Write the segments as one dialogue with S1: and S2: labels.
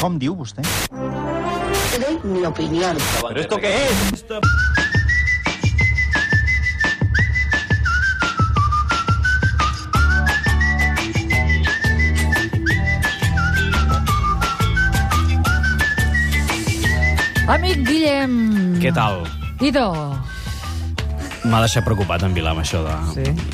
S1: Com diu vostè?
S2: Te doy mi opinión.
S3: ¿Pero esto qué es?
S4: Amic Guillem.
S5: Què tal?
S4: Idò.
S5: M'ha deixat preocupat en Vila amb això de,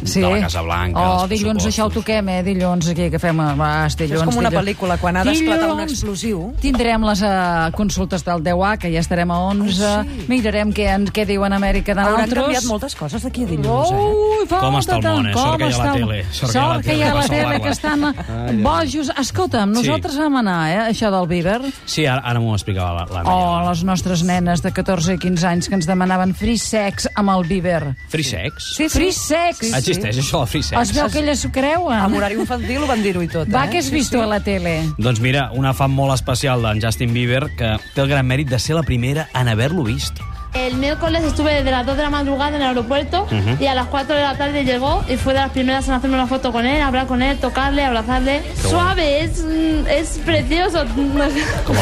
S4: Sí.
S5: de la Casa Blanca.
S4: Oh,
S5: dels
S4: dilluns
S5: pressupostos.
S4: això ho toquem, eh? Dilluns aquí, que fem abast, dilluns...
S6: és com una
S4: dilluns.
S6: pel·lícula, quan ha d'esclatar un
S4: Dilluns
S6: explosiu.
S4: Tindrem les uh, consultes del 10A, que ja estarem a 11.
S6: sí.
S4: Mirarem què, en, què diuen Amèrica de
S6: Hauran
S4: nosaltres.
S6: canviat moltes coses d'aquí a dilluns, eh?
S4: Ui, falta
S5: Com està el
S4: tant,
S5: món, eh?
S4: com
S5: Sort que hi ha la
S4: està el-
S5: tele, sort que hi ha la
S4: Sort que hi
S5: tele
S4: ha la
S5: per
S4: tele,
S5: salvar-la.
S4: que estan bojos. Escolta'm,
S5: Sí.
S4: nosaltres vam anar, eh, això del Bieber.
S5: Sí, ara, ara m'ho explicava la, la
S4: O
S5: Mireia.
S4: les nostres nenes de 14 i 15 anys que ens demanaven free sex amb el Bieber.
S5: Free sex?
S4: Sí, free sex!
S6: Sí, sí.
S5: Existeix això, el free sex?
S4: Es veu que elles s'ho creuen.
S6: Amb eh? horari infantil ho van dir-ho i tot,
S4: Va,
S6: eh?
S4: que has vist tu a la tele.
S5: Doncs mira, una fan molt especial d'en Justin Bieber que té el gran mèrit de ser la primera en haver-lo vist.
S7: El miércoles estuve desde las 2 de la madrugada en el aeropuerto y a las 4 de la tarde llegó y fue de las primeras en hacerme una foto con él, hablar con él, tocarle, abrazarle. Suave, es, mm, es precioso.
S5: Com el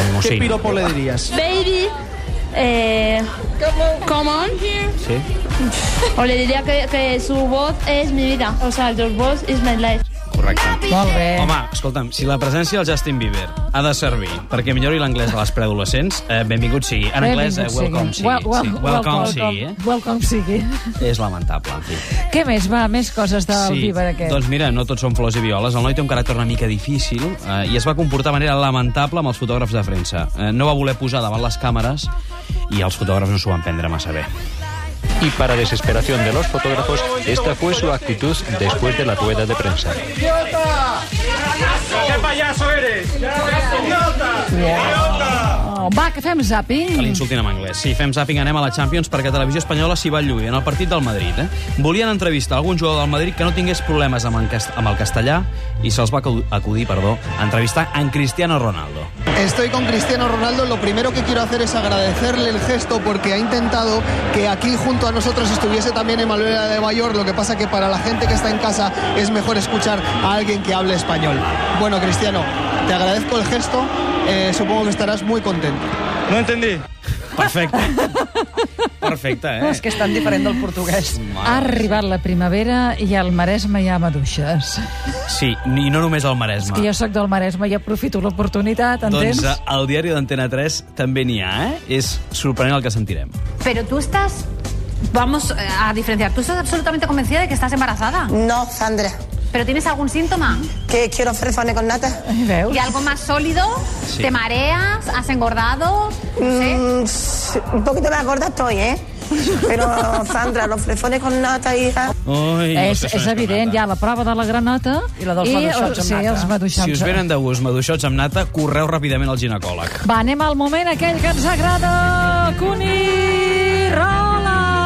S1: Què
S5: Mocín.
S1: piropo le diries?
S7: Baby, eh, come on.
S5: Sí.
S7: O le diría que, que su voz es mi vida. O sea, your voice is my life.
S5: Correcte.
S4: Molt bé.
S5: Home, escolta'm, si la presència del Justin Bieber ha de servir perquè millori l'anglès de les preadolescents, eh, benvingut sigui. En anglès, eh,
S4: Benvingut
S5: welcome
S4: sigui.
S5: sigui.
S4: Wel- wel-
S5: sí, welcome sigui, eh?
S4: Welcome sigui.
S5: És lamentable, en fi.
S4: Què més, va? Més coses del Bieber aquest.
S5: Doncs mira, no tots són flors i violes. El noi té un caràcter una mica difícil eh, i es va comportar de manera lamentable amb els fotògrafs de premsa. Eh, no va voler posar davant les càmeres i els fotògrafs no s'ho van prendre massa bé.
S8: Y para desesperación de los fotógrafos, esta fue su actitud después de la rueda de prensa.
S4: Oh, va, que fem zapping.
S5: Que l'insultin en anglès. Si fem zapping, anem a la Champions perquè Televisió Espanyola s'hi va lluir en el partit del Madrid. Eh? Volien entrevistar algun jugador del Madrid que no tingués problemes amb, en cas- amb el castellà i se'ls va acu- acudir, perdó, a entrevistar en Cristiano Ronaldo.
S9: Estoy con Cristiano Ronaldo. Lo primero que quiero hacer es agradecerle el gesto porque ha intentado que aquí junto a nosotros estuviese también Emanuel de Mayor. Lo que pasa que para la gente que está en casa es mejor escuchar a alguien que hable español. Bueno, Cristiano, te agradezco el gesto. Eh, supongo que estarás muy contento.
S5: Perfecte. Perfecte, eh?
S6: És que és tan diferent del portuguès.
S4: Ha arribat la primavera i al Maresme hi ha maduixes.
S5: Sí, i no només el Maresme.
S4: Que jo sóc del Maresme i aprofito l'oportunitat, entens?
S5: Doncs eh, al diari d'Antena 3 també n'hi ha, eh? És sorprenent el que sentirem.
S10: Pero tú estás, vamos eh, a diferenciar, tú estás absolutamente convencida de que estás embarazada,
S2: No, Sandra.
S10: pero tienes algún síntoma
S2: Que quiero fresones con nata.
S5: eh,
S4: Ai, Veus?
S10: y algo más sólido,
S5: Sí.
S10: te mareas, has engordado, no sé.
S2: Mm, sí, un poquito me acorda estoy, ¿eh? Pero, Sandra, los fresones con nata, hija.
S5: Ui,
S4: és, és evident, hi ha la prova de la granota
S6: I la dels maduixots amb
S4: sí,
S6: nata.
S4: els maduixots.
S5: Si us venen de gust maduixots amb nata, correu ràpidament al ginecòleg.
S4: Va, anem al moment aquell que ens agrada, Cuni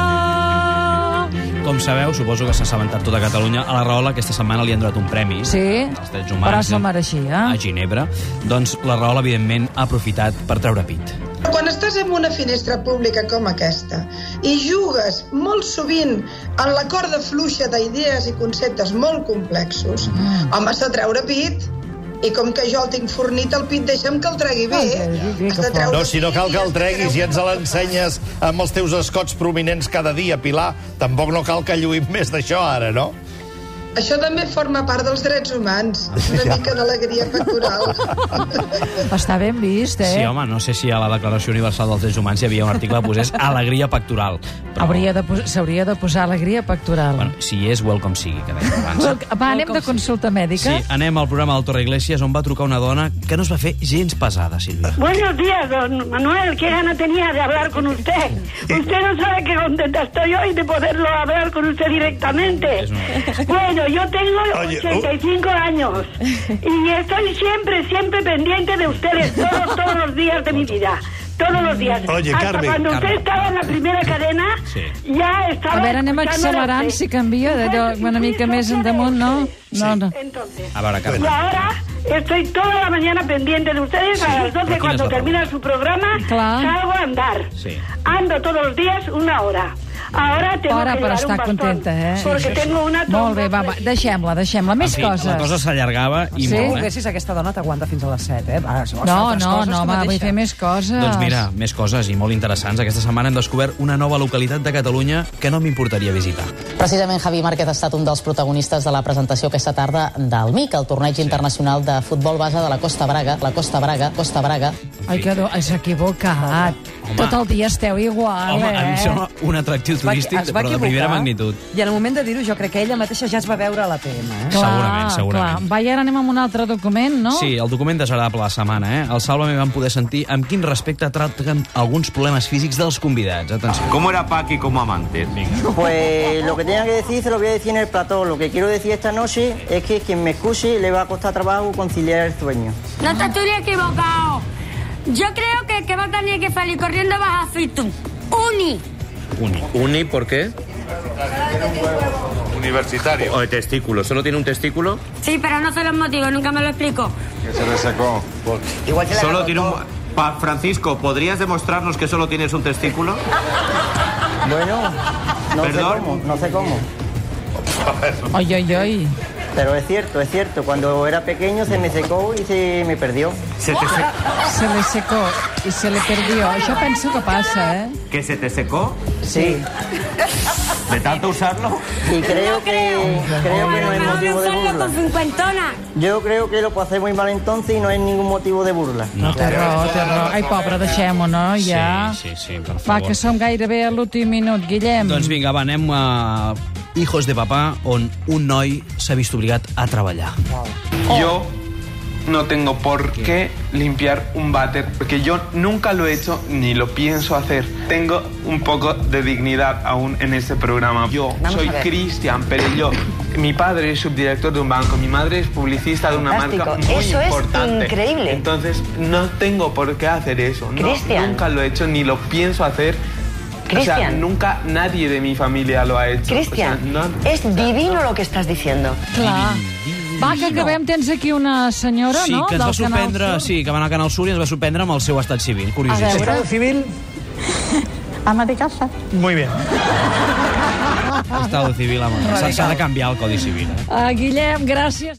S4: Rola!
S5: Com sabeu, suposo que s'ha assabentat tota Catalunya, a la Rahola aquesta setmana li han donat un premi.
S4: Sí,
S5: Als drets humans.
S4: però s'ho mereixia.
S5: A Ginebra. Doncs la Rahola, evidentment, ha aprofitat per treure pit.
S11: Quan estàs en una finestra pública com aquesta i jugues molt sovint en la corda fluixa d'idees i conceptes molt complexos, home, has de treure pit. I com que jo el tinc fornit, el pit deixa'm que el tregui bé. Has de treure
S3: No, si no cal que el
S11: pit,
S3: treguis i ens l'ensenyes amb els teus escots prominents cada dia, Pilar, tampoc no cal que lluïm més d'això ara, no?
S11: Això també forma part dels drets humans.
S3: Ah,
S11: Una mica d'alegria factural.
S4: Està ben vist, eh?
S5: Sí, home, no sé si a la Declaració Universal dels Drets Humans hi havia un article que posés alegria pectoral. Però,
S4: Hauria de pos- S'hauria de, de posar alegria pectoral.
S5: bueno, si hi és, welcome sigui, que dèiem abans.
S4: Va, anem de consulta
S5: Sí,
S4: mèdica.
S5: anem al programa del Torre Iglesias, on va trucar una dona que no es va fer gens pesada, Sílvia.
S7: Buenos días, don Manuel. Qué gana tenía de hablar con usted.
S3: Eh,
S7: Usted no sabe qué contenta estoy hoy de poderlo hablar con usted directamente. Bueno, yo tengo
S3: Oye, oh.
S7: 85 años y estoy siempre, siempre pendiente de ustedes todos, todos los días de mi vida. Todos los días.
S3: Oye,
S7: Hasta
S3: Carmen,
S7: cuando
S5: Carmen.
S7: usted estaba en la primera cadena,
S5: Sí.
S7: ya estaba...
S4: A veure, anem
S7: escuchándola
S4: accelerant,
S7: usted.
S4: si canvia d'allò una mica més endamunt, no? No, no.
S12: Eh,
S7: Entonces...
S5: A veure,
S7: Y
S5: Carme.
S7: ahora estoy toda la mañana pendiente de ustedes.
S5: Sí,
S7: a las
S5: ¿pero
S7: 12,
S5: quién es
S7: cuando
S5: la
S7: termina su programa,
S4: Claro.
S7: salgo a andar.
S5: Sí.
S7: Ando todos los días una hora.
S12: Ahora tengo
S4: Hora
S12: que
S4: per
S12: llevar
S4: estar
S12: un bastón,
S4: contenta, eh?
S12: Porque tengo una
S4: Molt bé, va, va deixem-la, deixem-la. Més
S5: en fi,
S4: coses.
S5: La cosa s'allargava i
S6: si
S5: molt, eh?
S6: poguessis, aquesta dona t'aguanta fins a les 7, eh? Va, si vols fer
S4: No,
S6: altres
S4: no,
S6: coses, tu
S4: no, va,
S6: mateixa.
S4: vull fer més coses.
S5: Doncs mira, més coses i molt interessants. Aquesta setmana hem descobert una nova localitat de Catalunya que no m'importaria visitar.
S13: Precisament Javi Márquez ha estat un dels protagonistes de la presentació aquesta tarda del MIC, el torneig internacional de futbol base de la Costa Braga, la Costa Braga, Costa Braga.
S4: Ai, que do... s'ha equivocat. Tot el dia esteu igual,
S5: Home,
S4: eh?
S5: a mi em sembla un atractiu
S6: va-
S5: turístic,
S6: es va
S5: però de primera
S6: equivocar.
S5: magnitud.
S6: I en el moment de dir-ho, jo crec que ella mateixa ja es va veure a la PM, eh?
S5: Segurament, segurament.
S4: Clar. Va, i ara anem amb un altre document, no?
S5: Sí, el document desagradable de la setmana, eh? Al Salva me van poder sentir amb quin respecte tracten alguns problemes físics dels convidats. Atenció.
S14: ¿Cómo era Paqui como amante?
S15: Pues lo que tenga que decir se lo voy a decir en el plató. Lo que quiero decir esta noche es que quien me escuche le va a costar trabajo conciliar el sueño.
S10: No te estoy equivocado. Yo creo que el que va a tener que salir corriendo vas a ser tú. Uni.
S14: Uni. ¿Uni por qué? Universitario. O de testículo. ¿Solo tiene un testículo?
S10: Sí, pero no sé los motivos, nunca me lo explico.
S14: Que se le sacó.
S11: Pues
S15: Igual que la
S14: solo tiene un... Pa- Francisco, ¿podrías demostrarnos que solo tienes un testículo?
S15: Bueno, no
S14: ¿Perdón?
S15: sé cómo, no sé cómo.
S4: Ay, ay, ay.
S15: Pero es cierto, es cierto. Cuando era pequeño se me secó y se me perdió.
S4: Se le secó i se le perdió. Això penso que passa, eh?
S14: ¿Que se te secó?
S15: Sí.
S14: ¿De tanto usarlo?
S15: Y creo que, creo que no es motivo de
S10: Solo
S15: burla.
S10: con cincuentona.
S15: Yo creo que lo pasé muy mal entonces y no es ningún motivo de burla.
S4: No, té raó, té raó. Ai, pobre, deixem-ho, no? Ja.
S5: Sí, sí, sí, per
S4: Va,
S5: favor.
S4: que som gairebé a l'últim minut, Guillem.
S5: Doncs vinga, va, anem a Hijos de Papà, on un noi s'ha vist obligat a treballar.
S4: Ah.
S11: Yo no tengo por qué limpiar un váter, porque yo nunca lo he hecho ni lo pienso hacer. Tengo un poco de dignidad aún en este programa. Yo
S16: Vamos
S11: soy
S16: a ver.
S11: Cristian Perelló. Mi padre es subdirector de un banco, mi madre es publicista de una marca
S16: Fantástico.
S11: muy
S16: Eso es
S11: importante.
S16: increíble.
S11: Entonces, no tengo por qué hacer eso. No,
S16: Cristian.
S11: nunca lo he hecho ni lo pienso hacer. O sea,
S16: Cristian.
S11: nunca nadie de mi familia lo ha hecho. O sea,
S16: Cristian,
S11: no-
S16: es divino lo que estás diciendo.
S4: Clar. Va, que acabem. Tens aquí una senyora,
S5: sí,
S4: no?
S5: que ens va
S4: Del Canal
S5: sorprendre,
S4: Sur.
S5: sí, que va anar al Canal Sur i ens va sorprendre amb el seu estat civil.
S4: A
S5: Curiosíssim.
S4: veure. Estado
S5: civil?
S17: Ama de casa.
S18: Muy bien.
S5: Estado civil, home. S'ha- S'ha de canviar el Codi Civil. Eh?
S4: Ah, Guillem, gràcies.